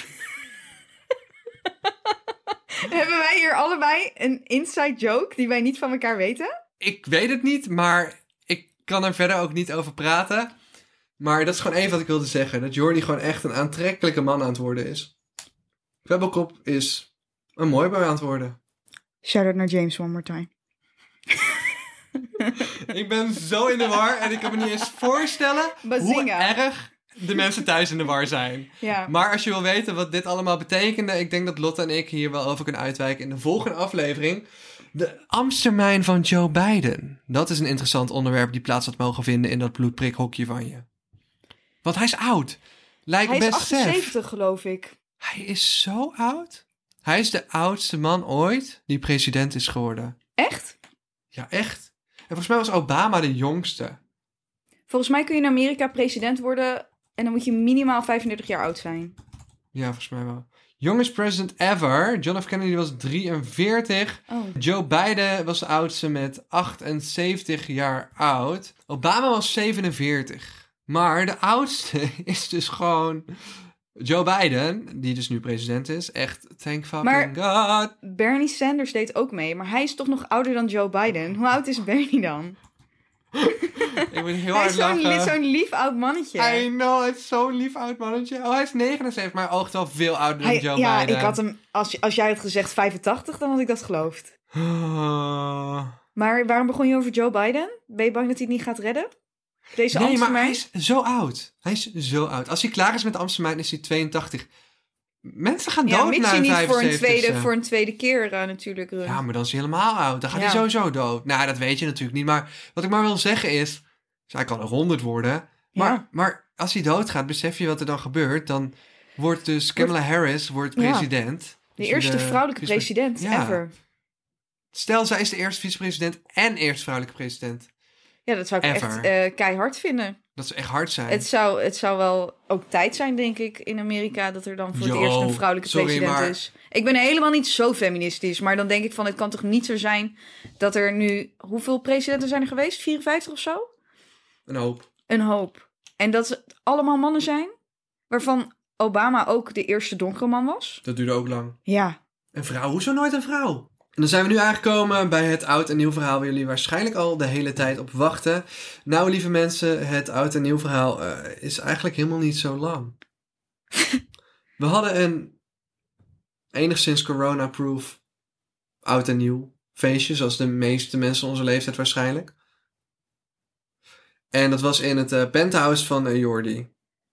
Speaker 1: Hebben wij hier allebei een inside joke die wij niet van elkaar weten?
Speaker 2: Ik weet het niet, maar ik kan er verder ook niet over praten. Maar dat is gewoon even wat ik wilde zeggen. Dat Jordi gewoon echt een aantrekkelijke man aan het worden is. Pebblekop is een mooi boy aan het worden.
Speaker 1: Shout out naar James one more time.
Speaker 2: Ik ben zo in de war en ik kan me niet eens voorstellen hoe
Speaker 1: Bazinga.
Speaker 2: erg de mensen thuis in de war zijn.
Speaker 1: Ja.
Speaker 2: Maar als je wil weten wat dit allemaal betekende, ik denk dat Lotte en ik hier wel over kunnen uitwijken in de volgende aflevering. De Amstermijn van Joe Biden. Dat is een interessant onderwerp die plaats had mogen vinden in dat bloedprikhokje van je. Want hij is oud. Lijkt
Speaker 1: Hij is
Speaker 2: best Seth.
Speaker 1: 78, geloof ik.
Speaker 2: Hij is zo oud. Hij is de oudste man ooit die president is geworden.
Speaker 1: Echt?
Speaker 2: Ja, echt. En volgens mij was Obama de jongste.
Speaker 1: Volgens mij kun je in Amerika president worden en dan moet je minimaal 35 jaar oud zijn.
Speaker 2: Ja, volgens mij wel. Youngest president ever. John F. Kennedy was 43.
Speaker 1: Oh.
Speaker 2: Joe Biden was de oudste met 78 jaar oud. Obama was 47. Maar de oudste is dus gewoon Joe Biden, die dus nu president is. Echt, thank fucking god.
Speaker 1: Bernie Sanders deed ook mee, maar hij is toch nog ouder dan Joe Biden. Hoe oud is Bernie dan?
Speaker 2: Ik moet heel
Speaker 1: Hij
Speaker 2: hard
Speaker 1: is zo'n li-
Speaker 2: lachen.
Speaker 1: zo'n lief oud mannetje.
Speaker 2: I know, hij is zo'n lief oud mannetje. Oh, hij is 79, maar hij oogt wel veel ouder dan
Speaker 1: Hij-
Speaker 2: Joe
Speaker 1: ja,
Speaker 2: Biden.
Speaker 1: ik had hem, als, je- als jij had gezegd 85, dan had ik dat geloofd.
Speaker 2: Oh.
Speaker 1: Maar waarom begon je over Joe Biden? Ben je bang dat hij het niet gaat redden? Deze
Speaker 2: Nee, maar
Speaker 1: ambtsmijn?
Speaker 2: hij is zo oud. Hij is zo oud. Als hij klaar is met Amsterdam, is hij 82. Mensen gaan
Speaker 1: Ja,
Speaker 2: dood
Speaker 1: mits
Speaker 2: na
Speaker 1: je
Speaker 2: hun
Speaker 1: niet voor een,
Speaker 2: 75ste.
Speaker 1: tweede, voor een tweede keer eh, natuurlijk. Run.
Speaker 2: Ja, maar dan is hij helemaal oud. Dan gaat
Speaker 1: Ja.
Speaker 2: hij sowieso dood. Nou, dat weet je natuurlijk niet. Maar wat ik maar wil zeggen is... dus hij kan er 100 worden. Maar,
Speaker 1: Ja.
Speaker 2: maar als hij doodgaat, besef je wat er dan gebeurt. Dan wordt dus Kamala Harris wordt
Speaker 1: Ja.
Speaker 2: president.
Speaker 1: de
Speaker 2: Dus
Speaker 1: eerste vrouwelijke
Speaker 2: vicepres-
Speaker 1: president
Speaker 2: Ja.
Speaker 1: ever.
Speaker 2: Stel, zij is de eerste vicepresident en eerste vrouwelijke president.
Speaker 1: Ja, dat zou ik
Speaker 2: Ever.
Speaker 1: echt eh, keihard vinden.
Speaker 2: Dat zou echt hard zijn.
Speaker 1: Het zou, het zou wel ook tijd zijn, denk ik, in Amerika... dat er dan voor
Speaker 2: Yo,
Speaker 1: het eerst een vrouwelijke
Speaker 2: sorry,
Speaker 1: president
Speaker 2: maar-
Speaker 1: is. Ik ben helemaal niet zo feministisch. Maar dan denk ik van, het kan toch niet zo zijn... dat er nu... Hoeveel presidenten zijn er geweest? 54 of zo?
Speaker 2: Een hoop.
Speaker 1: Een hoop. En dat ze allemaal mannen zijn? Waarvan Obama ook de eerste donkere man was?
Speaker 2: Dat duurde ook lang.
Speaker 1: Ja.
Speaker 2: Een vrouw? Hoezo nooit een vrouw? En dan zijn we nu aangekomen bij het oud en nieuw verhaal waar jullie waarschijnlijk al de hele tijd op wachten. Nou, lieve mensen, het oud en nieuw verhaal eh, is eigenlijk helemaal niet zo lang. we hadden een enigszins corona-proof oud en nieuw feestje, zoals de meeste mensen onze leeftijd waarschijnlijk. En dat was in het eh, penthouse van eh, Jordi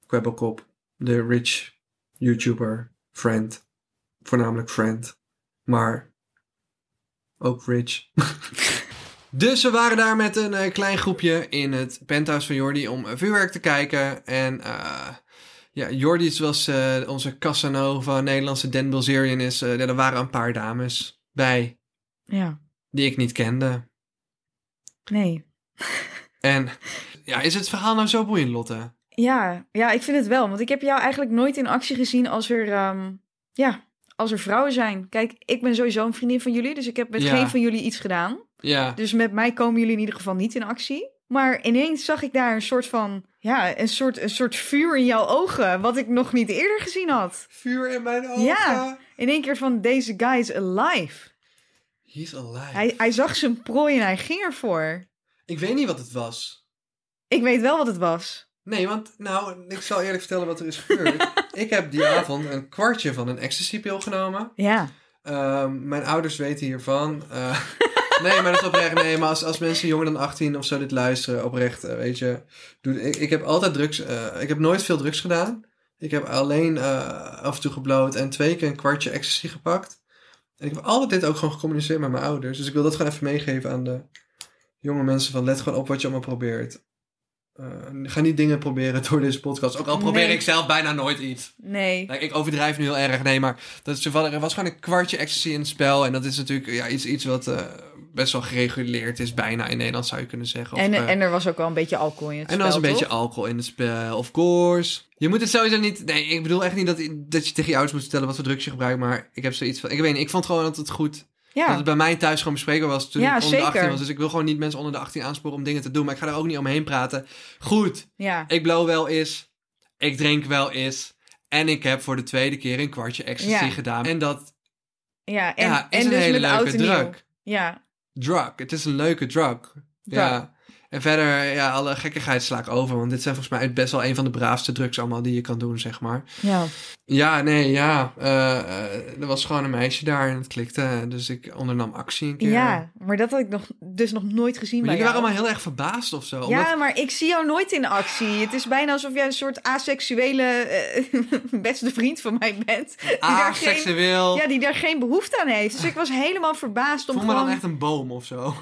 Speaker 2: Kwebbelkop, de rich YouTuber, friend voornamelijk friend, maar ook rich. dus we waren daar met een eh, klein groepje in het penthouse van Jordi om eh, vuurwerk te kijken. En eh, ja, Jordi is was eh, onze Casanova, Nederlandse Dan Bilzerian is. eh, ja, er waren een paar dames bij
Speaker 1: Ja.
Speaker 2: die ik niet kende.
Speaker 1: Nee.
Speaker 2: En ja, is het verhaal nou zo boeiend, Lotte?
Speaker 1: Ja, ja, ik vind het wel. Want ik heb jou eigenlijk nooit in actie gezien als er, ehm, ja, als er vrouwen zijn. Kijk, ik ben sowieso een vriendin van jullie, dus ik heb met
Speaker 2: Ja.
Speaker 1: geen van jullie iets gedaan.
Speaker 2: Ja.
Speaker 1: Dus met mij komen jullie in ieder geval niet in actie. Maar ineens zag ik daar een soort van, ja, een soort, een soort vuur in jouw ogen, wat ik nog niet eerder gezien had.
Speaker 2: Vuur in mijn ogen.
Speaker 1: Ja. In één keer van, deze guy is alive.
Speaker 2: He's alive.
Speaker 1: Hij, hij zag zijn prooi en hij ging ervoor.
Speaker 2: Ik weet niet wat het was.
Speaker 1: Ik weet wel wat het was.
Speaker 2: Nee, want nou, ik zal eerlijk vertellen wat er is gebeurd. ik heb die avond een kwartje van een ecstasypil genomen.
Speaker 1: Ja.
Speaker 2: Ehm, mijn ouders weten hiervan. Eh, nee, maar dat is oprecht. Nee, maar als, als mensen jonger dan 18 of zo dit luisteren, oprecht, eh, weet je. Doe, ik, ik heb altijd drugs. eh, ik heb nooit veel drugs gedaan. Ik heb alleen eh, af en toe gebloot en twee keer een kwartje ecstasy gepakt. En ik heb altijd dit ook gewoon gecommuniceerd met mijn ouders. Dus ik wil dat gewoon even meegeven aan de jonge mensen. Van let gewoon op wat je allemaal probeert. Eh, ga niet dingen proberen door deze podcast. Ook al probeer
Speaker 1: Nee.
Speaker 2: ik zelf bijna nooit iets.
Speaker 1: Nee.
Speaker 2: Nou, ik overdrijf nu heel erg, nee, maar dat is toevallig, er was gewoon een kwartje ecstasy in het spel. En dat is natuurlijk ja, iets, iets wat eh, best wel gereguleerd is, bijna in Nederland zou je kunnen zeggen. Of,
Speaker 1: En,
Speaker 2: eh,
Speaker 1: en er was ook wel een beetje alcohol in het
Speaker 2: en er
Speaker 1: spel,
Speaker 2: was een beetje
Speaker 1: toch?
Speaker 2: alcohol in het spel, of course. Je moet het sowieso niet. Nee, ik bedoel echt niet dat, dat je tegen je ouders moet vertellen wat voor drugs je gebruikt. Maar ik heb zoiets van. Ik weet niet, ik vond gewoon dat het goed. Dat
Speaker 1: Ja.
Speaker 2: het bij mij thuis gewoon bespreekbaar was toen
Speaker 1: Ja,
Speaker 2: ik onder de 18
Speaker 1: zeker.
Speaker 2: was. Dus ik wil gewoon niet mensen onder de 18 aansporen om dingen te doen. Maar ik ga er ook niet omheen praten. Goed,
Speaker 1: ja.
Speaker 2: ik blow wel eens. Ik drink wel eens. En ik heb voor de tweede keer een kwartje ecstasy
Speaker 1: Ja.
Speaker 2: gedaan. En dat
Speaker 1: Ja, en,
Speaker 2: ja, is
Speaker 1: en
Speaker 2: een
Speaker 1: dus
Speaker 2: hele
Speaker 1: met oud
Speaker 2: leuke
Speaker 1: en nieuw.
Speaker 2: drug.
Speaker 1: Ja,
Speaker 2: Drug. Het is een leuke drug. Ja. En verder, ja, alle gekkigheid sla ik over. Want dit zijn volgens mij best wel een van de braafste drugs allemaal die je kan doen, zeg maar.
Speaker 1: ja.
Speaker 2: Ja, nee, ja. eh, eh, er was gewoon een meisje daar en het klikte. Dus ik ondernam actie een keer.
Speaker 1: ja, maar dat had ik nog, dus nog nooit gezien
Speaker 2: Maar
Speaker 1: bij
Speaker 2: jullie waren
Speaker 1: jou.
Speaker 2: allemaal heel erg verbaasd of zo.
Speaker 1: ja,
Speaker 2: omdat-
Speaker 1: maar ik zie jou nooit in actie. Het is bijna alsof jij een soort asexuele eh, beste vriend van mij bent. Die daar geen-
Speaker 2: aseksueel.
Speaker 1: ja, die daar geen behoefte aan heeft. Dus ik was helemaal verbaasd om
Speaker 2: Voel me
Speaker 1: gewoon...
Speaker 2: dan echt een boom of zo.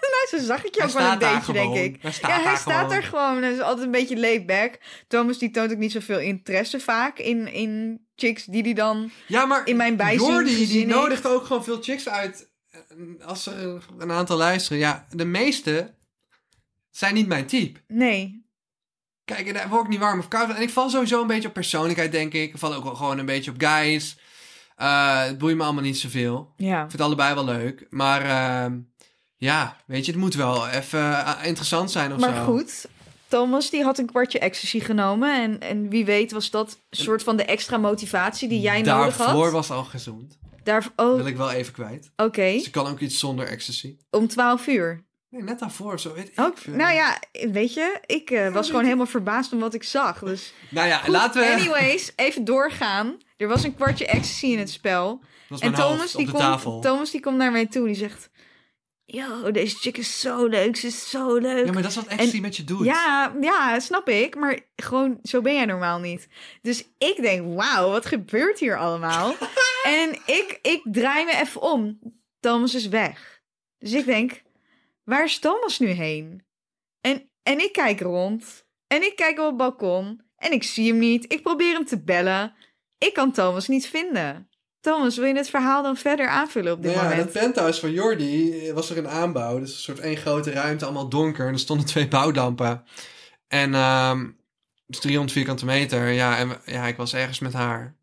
Speaker 1: Nou, zo zag ik je
Speaker 2: Hij
Speaker 1: ook wel een
Speaker 2: staat daar
Speaker 1: beetje, denk
Speaker 2: gewoon.
Speaker 1: ik.
Speaker 2: Hij staat
Speaker 1: ja, hij
Speaker 2: daar
Speaker 1: staat
Speaker 2: gewoon.
Speaker 1: er gewoon. Hij is altijd een beetje laid back. Thomas die toont ook niet zoveel interesse vaak in, in chicks die die dan...
Speaker 2: Ja, maar
Speaker 1: in mijn bijzin
Speaker 2: Jordi, die
Speaker 1: gezien
Speaker 2: nodigt ook gewoon veel chicks uit. eh, Als er een aantal luisteren. Ja, de meeste zijn niet mijn type.
Speaker 1: Nee.
Speaker 2: Kijk, en daar word ik niet warm of koud van. En ik val sowieso een beetje op persoonlijkheid, denk ik. Ik val ook wel gewoon een beetje op guys. Eh, het boeit me allemaal niet zoveel.
Speaker 1: Ja.
Speaker 2: Ik vind het allebei wel leuk. Maar ehm, ja, weet je, het moet wel even eh, interessant zijn of
Speaker 1: Maar
Speaker 2: zo.
Speaker 1: goed, Thomas die had een kwartje ecstasy genomen. En, en wie weet was dat een soort van de extra motivatie die jij nodig had.
Speaker 2: Daarvoor was al gezond.
Speaker 1: Daarvoor- Oh,
Speaker 2: Wil
Speaker 1: oké.
Speaker 2: ik wel even kwijt. Dus ik kan ook iets zonder ecstasy.
Speaker 1: Om 12 uur.
Speaker 2: Nee, net daarvoor. Zo, weet ik eh,
Speaker 1: Ook,
Speaker 2: veel.
Speaker 1: nou ja, weet je, ik eh, was gewoon helemaal verbaasd om wat ik zag. Dus
Speaker 2: Nou ja,
Speaker 1: Goed,
Speaker 2: laten we...
Speaker 1: Anyways, even doorgaan. Er was een kwartje ecstasy in het spel.
Speaker 2: Dat was
Speaker 1: En
Speaker 2: mijn hoofd
Speaker 1: Thomas
Speaker 2: op
Speaker 1: die,
Speaker 2: de
Speaker 1: komt,
Speaker 2: tafel.
Speaker 1: Thomas die komt naar mij toe en die zegt... Yo, deze chick is zo leuk. Ze is zo leuk.
Speaker 2: Ja, maar dat is wat ecstasy met je doet.
Speaker 1: Ja, ja, snap ik. Maar gewoon, zo ben jij normaal niet. Dus ik denk, wauw, wat gebeurt hier allemaal? en ik, ik draai me even om. Thomas is weg. Dus ik denk, waar is Thomas nu heen? En, en ik kijk rond. En ik kijk op het balkon. En ik zie hem niet. Ik probeer hem te bellen. Ik kan Thomas niet vinden. Thomas, wil je het verhaal dan verder aanvullen op dit
Speaker 2: Nou ja,
Speaker 1: moment?
Speaker 2: dat penthouse van Jordi eh, was er een aanbouw. Dus een soort één grote ruimte, allemaal donker. En er stonden twee bouwdampen. En ehm het is 300 vierkante meter. Ja, en we- ja, ik was ergens met haar.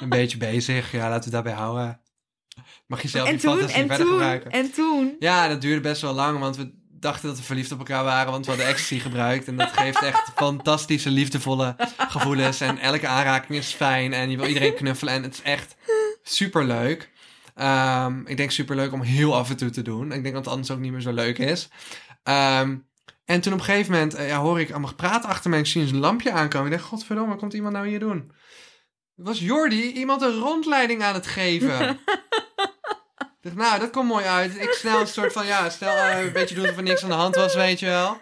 Speaker 2: een beetje bezig. Ja, laten we daarbij houden. Mag je zelf
Speaker 1: en
Speaker 2: je
Speaker 1: toen,
Speaker 2: fantasie
Speaker 1: en
Speaker 2: verder
Speaker 1: toen,
Speaker 2: gebruiken.
Speaker 1: en toen.
Speaker 2: Ja, dat duurde best wel lang, want we dachten dat we verliefd op elkaar waren, want we hadden ecstasy gebruikt. En dat geeft echt fantastische, liefdevolle gevoelens. En elke aanraking is fijn en je wil iedereen knuffelen. En het is echt superleuk. Ehm, ik denk superleuk om heel af en toe te doen. Ik denk dat het anders ook niet meer zo leuk is. Ehm, en toen op een gegeven moment eh, ja, hoor ik allemaal gepraat achter me. en Ik zie een lampje aankomen. Ik denk, godverdomme, wat komt iemand nou hier doen? Was Jordi iemand een rondleiding aan het geven? Ik dacht, nou, dat komt mooi uit. Ik snel een soort van, ja, snel eh, een beetje doen alsof er niks aan de hand was, weet je wel.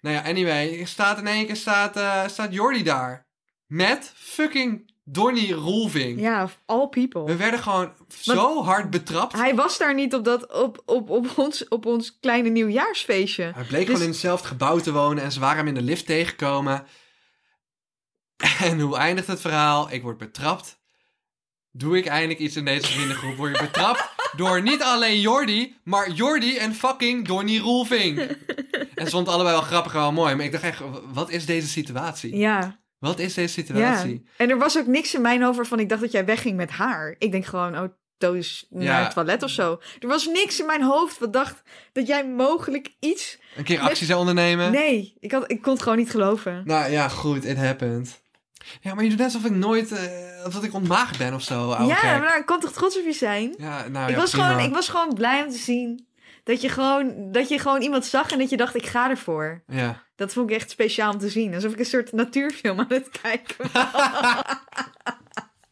Speaker 2: Nou ja, anyway, staat in één keer staat, eh, staat Jordi daar. Met fucking Donnie Roelving.
Speaker 1: Ja, of all people.
Speaker 2: We werden gewoon zo hard betrapt. Hij,
Speaker 1: Hij was daar niet op, dat, op, op, op, ons, op ons kleine nieuwjaarsfeestje. Dus
Speaker 2: bleek gewoon in hetzelfde gebouw te wonen en ze waren hem in de lift tegengekomen. En hoe eindigt het verhaal? Ik word betrapt. Doe ik eindelijk iets in deze vriendengroep? Word je betrapt door niet alleen Jordi, maar Jordi en fucking Donnie Roelving. En ze vonden allebei wel grappig en wel mooi. Maar ik dacht echt, wat is deze situatie?
Speaker 1: Ja,
Speaker 2: Wat is deze
Speaker 1: ja.
Speaker 2: situatie?
Speaker 1: En er was ook niks in mijn over van ik dacht dat jij wegging met haar. Ik denk gewoon, oh, Toos is naar
Speaker 2: Ja.
Speaker 1: het toilet of zo. Er was niks in mijn hoofd wat dacht dat jij mogelijk iets...
Speaker 2: Een keer actie zou ondernemen?
Speaker 1: Nee, ik, had, ik kon het gewoon niet geloven.
Speaker 2: Nou ja, goed, it happened. Ja, maar je doet net alsof ik nooit, eh, of dat ik ontmaagd ben of zo, oude
Speaker 1: ja,
Speaker 2: gek.
Speaker 1: maar ik kan toch trots op je zijn?
Speaker 2: Ja, nou
Speaker 1: ik,
Speaker 2: ja,
Speaker 1: was
Speaker 2: prima.
Speaker 1: gewoon, ik was gewoon blij om te zien dat je gewoon, dat je gewoon iemand zag en dat je dacht, ik ga ervoor.
Speaker 2: Ja.
Speaker 1: Dat vond ik echt speciaal om te zien. Alsof ik een soort natuurfilm aan het kijken was.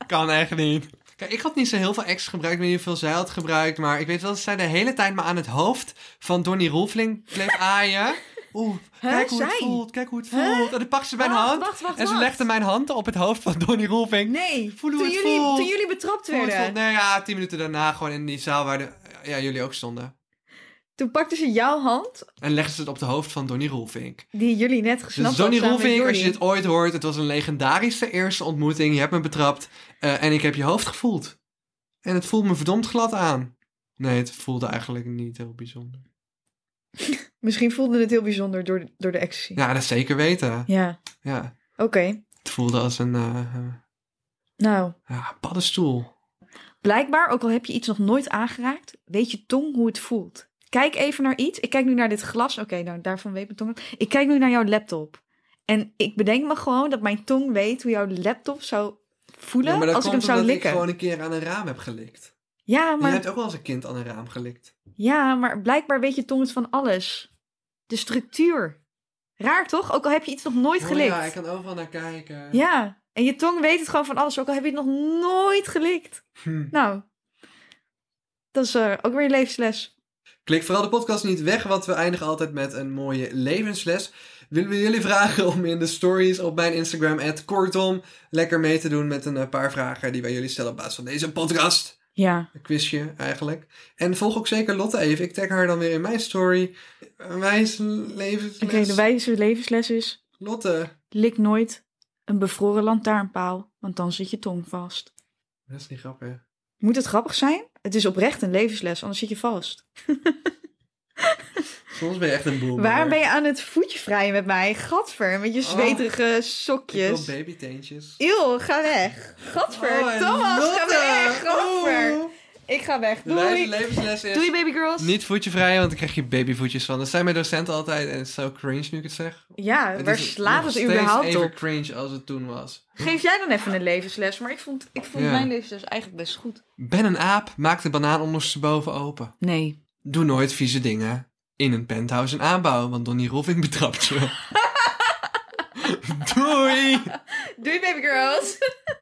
Speaker 2: Kan echt niet. Kijk, ik had niet zo heel veel ex gebruikt, ik weet niet hoeveel zij had gebruikt, maar ik weet wel dat zij de hele tijd maar aan het hoofd van Donnie Roelfling bleef aaien. Oeh, kijk hoe het
Speaker 1: zij?
Speaker 2: voelt, kijk hoe het voelt. En dan pakte ze mijn
Speaker 1: Wacht,
Speaker 2: hand
Speaker 1: wacht, wacht,
Speaker 2: en ze
Speaker 1: wacht.
Speaker 2: legde mijn hand op het hoofd van Donnie Roelfling.
Speaker 1: Nee,
Speaker 2: Voel hoe
Speaker 1: toen,
Speaker 2: het
Speaker 1: jullie,
Speaker 2: voelt.
Speaker 1: toen jullie betrapt
Speaker 2: Hoe het
Speaker 1: werden,
Speaker 2: voelt. Nee, ja, tien minuten daarna gewoon in die zaal waar de, ja, jullie ook stonden.
Speaker 1: toen pakten ze jouw hand,
Speaker 2: En legde ze het op de hoofd van Donnie Roelfink.
Speaker 1: die jullie net gesnapt
Speaker 2: Dus Donnie
Speaker 1: hadden samen met
Speaker 2: Roelvink, als je
Speaker 1: Jordi.
Speaker 2: dit ooit hoort, het was een legendarische eerste ontmoeting. Je hebt me betrapt eh, en ik heb je hoofd gevoeld. En het voelde me verdomd glad aan. Nee, het voelde eigenlijk niet heel bijzonder.
Speaker 1: Misschien voelde het heel bijzonder door, de- door de ecstasy. Ja,
Speaker 2: Ja, dat zeker weten. Ja,
Speaker 1: oké.
Speaker 2: het voelde als een eh, eh,
Speaker 1: Nou,
Speaker 2: ja, paddenstoel.
Speaker 1: blijkbaar, ook al heb je iets nog nooit aangeraakt, weet je tong hoe het voelt. Kijk even naar iets. Ik kijk nu naar dit glas. Oké, nou, daarvan weet mijn tong het. Ik kijk nu naar jouw laptop. En ik bedenk me gewoon dat mijn tong weet hoe jouw laptop zou voelen
Speaker 2: maar dat
Speaker 1: als ik hem
Speaker 2: komt
Speaker 1: zou
Speaker 2: omdat
Speaker 1: likken.
Speaker 2: ik gewoon een keer aan een raam heb gelikt.
Speaker 1: Ja,
Speaker 2: En
Speaker 1: maar...
Speaker 2: Je hebt ook wel eens een kind aan een raam gelikt.
Speaker 1: Ja, maar blijkbaar weet je tong het van alles. De structuur. Raar toch? Ook al heb je iets nog nooit
Speaker 2: Oh
Speaker 1: gelikt.
Speaker 2: ja,
Speaker 1: ja,
Speaker 2: ik kan overal naar kijken.
Speaker 1: en je tong weet het gewoon van alles. Ook al heb je het nog nooit gelikt.
Speaker 2: Hm.
Speaker 1: Nou, dat is eh, ook weer een levensles.
Speaker 2: Klik vooral de podcast niet weg, want we eindigen altijd met een mooie levensles. Willen we jullie vragen om in de stories op mijn Instagram, kortom, lekker mee te doen met een eh, paar vragen die wij jullie stellen op basis van deze podcast.
Speaker 1: Ja,
Speaker 2: Een quizje eigenlijk. En volg ook zeker Lotte even. Ik tag haar dan weer in mijn story. Een Wijs levensles.
Speaker 1: oké, de wijze levensles is...
Speaker 2: Lotte.
Speaker 1: Lik nooit een bevroren lantaarnpaal, want dan zit je tong vast.
Speaker 2: Dat is niet grappig.
Speaker 1: Moet het grappig zijn? Het is oprecht een levensles, anders zit je vast.
Speaker 2: Soms ben je echt een boom.
Speaker 1: Waar ben je aan het voetje vrijen met mij? Gadver, met je zweterige
Speaker 2: babyteentjes? Oh. Ik
Speaker 1: sokjes.
Speaker 2: wil babyteentjes.
Speaker 1: Eeuw, ga weg. Gadver,
Speaker 2: Oh, en
Speaker 1: Thomas, ga
Speaker 2: Lotte.
Speaker 1: weg. Gadver.
Speaker 2: Oh.
Speaker 1: Ik ga weg.
Speaker 2: De wijze
Speaker 1: Doei.
Speaker 2: levensles is...
Speaker 1: Doei, baby girls.
Speaker 2: Niet voetje vrij, want dan krijg je babyvoetjes van. Dat zijn mijn docenten altijd en het is zo cringe nu ik het zeg.
Speaker 1: Ja,
Speaker 2: Het
Speaker 1: waar
Speaker 2: is
Speaker 1: slaat
Speaker 2: nog
Speaker 1: het
Speaker 2: steeds
Speaker 1: überhaupt
Speaker 2: even
Speaker 1: op?
Speaker 2: cringe als het toen was.
Speaker 1: Geef jij dan even een levensles, maar ik vond, ik vond
Speaker 2: Ja.
Speaker 1: mijn levensles eigenlijk best goed.
Speaker 2: Ben een aap, maak de banaan ondersteboven open.
Speaker 1: Nee.
Speaker 2: Doe nooit vieze dingen in een penthouse en aanbouw, want Donnie Rolfing betrapt je. Doei!
Speaker 1: Doei, baby girls.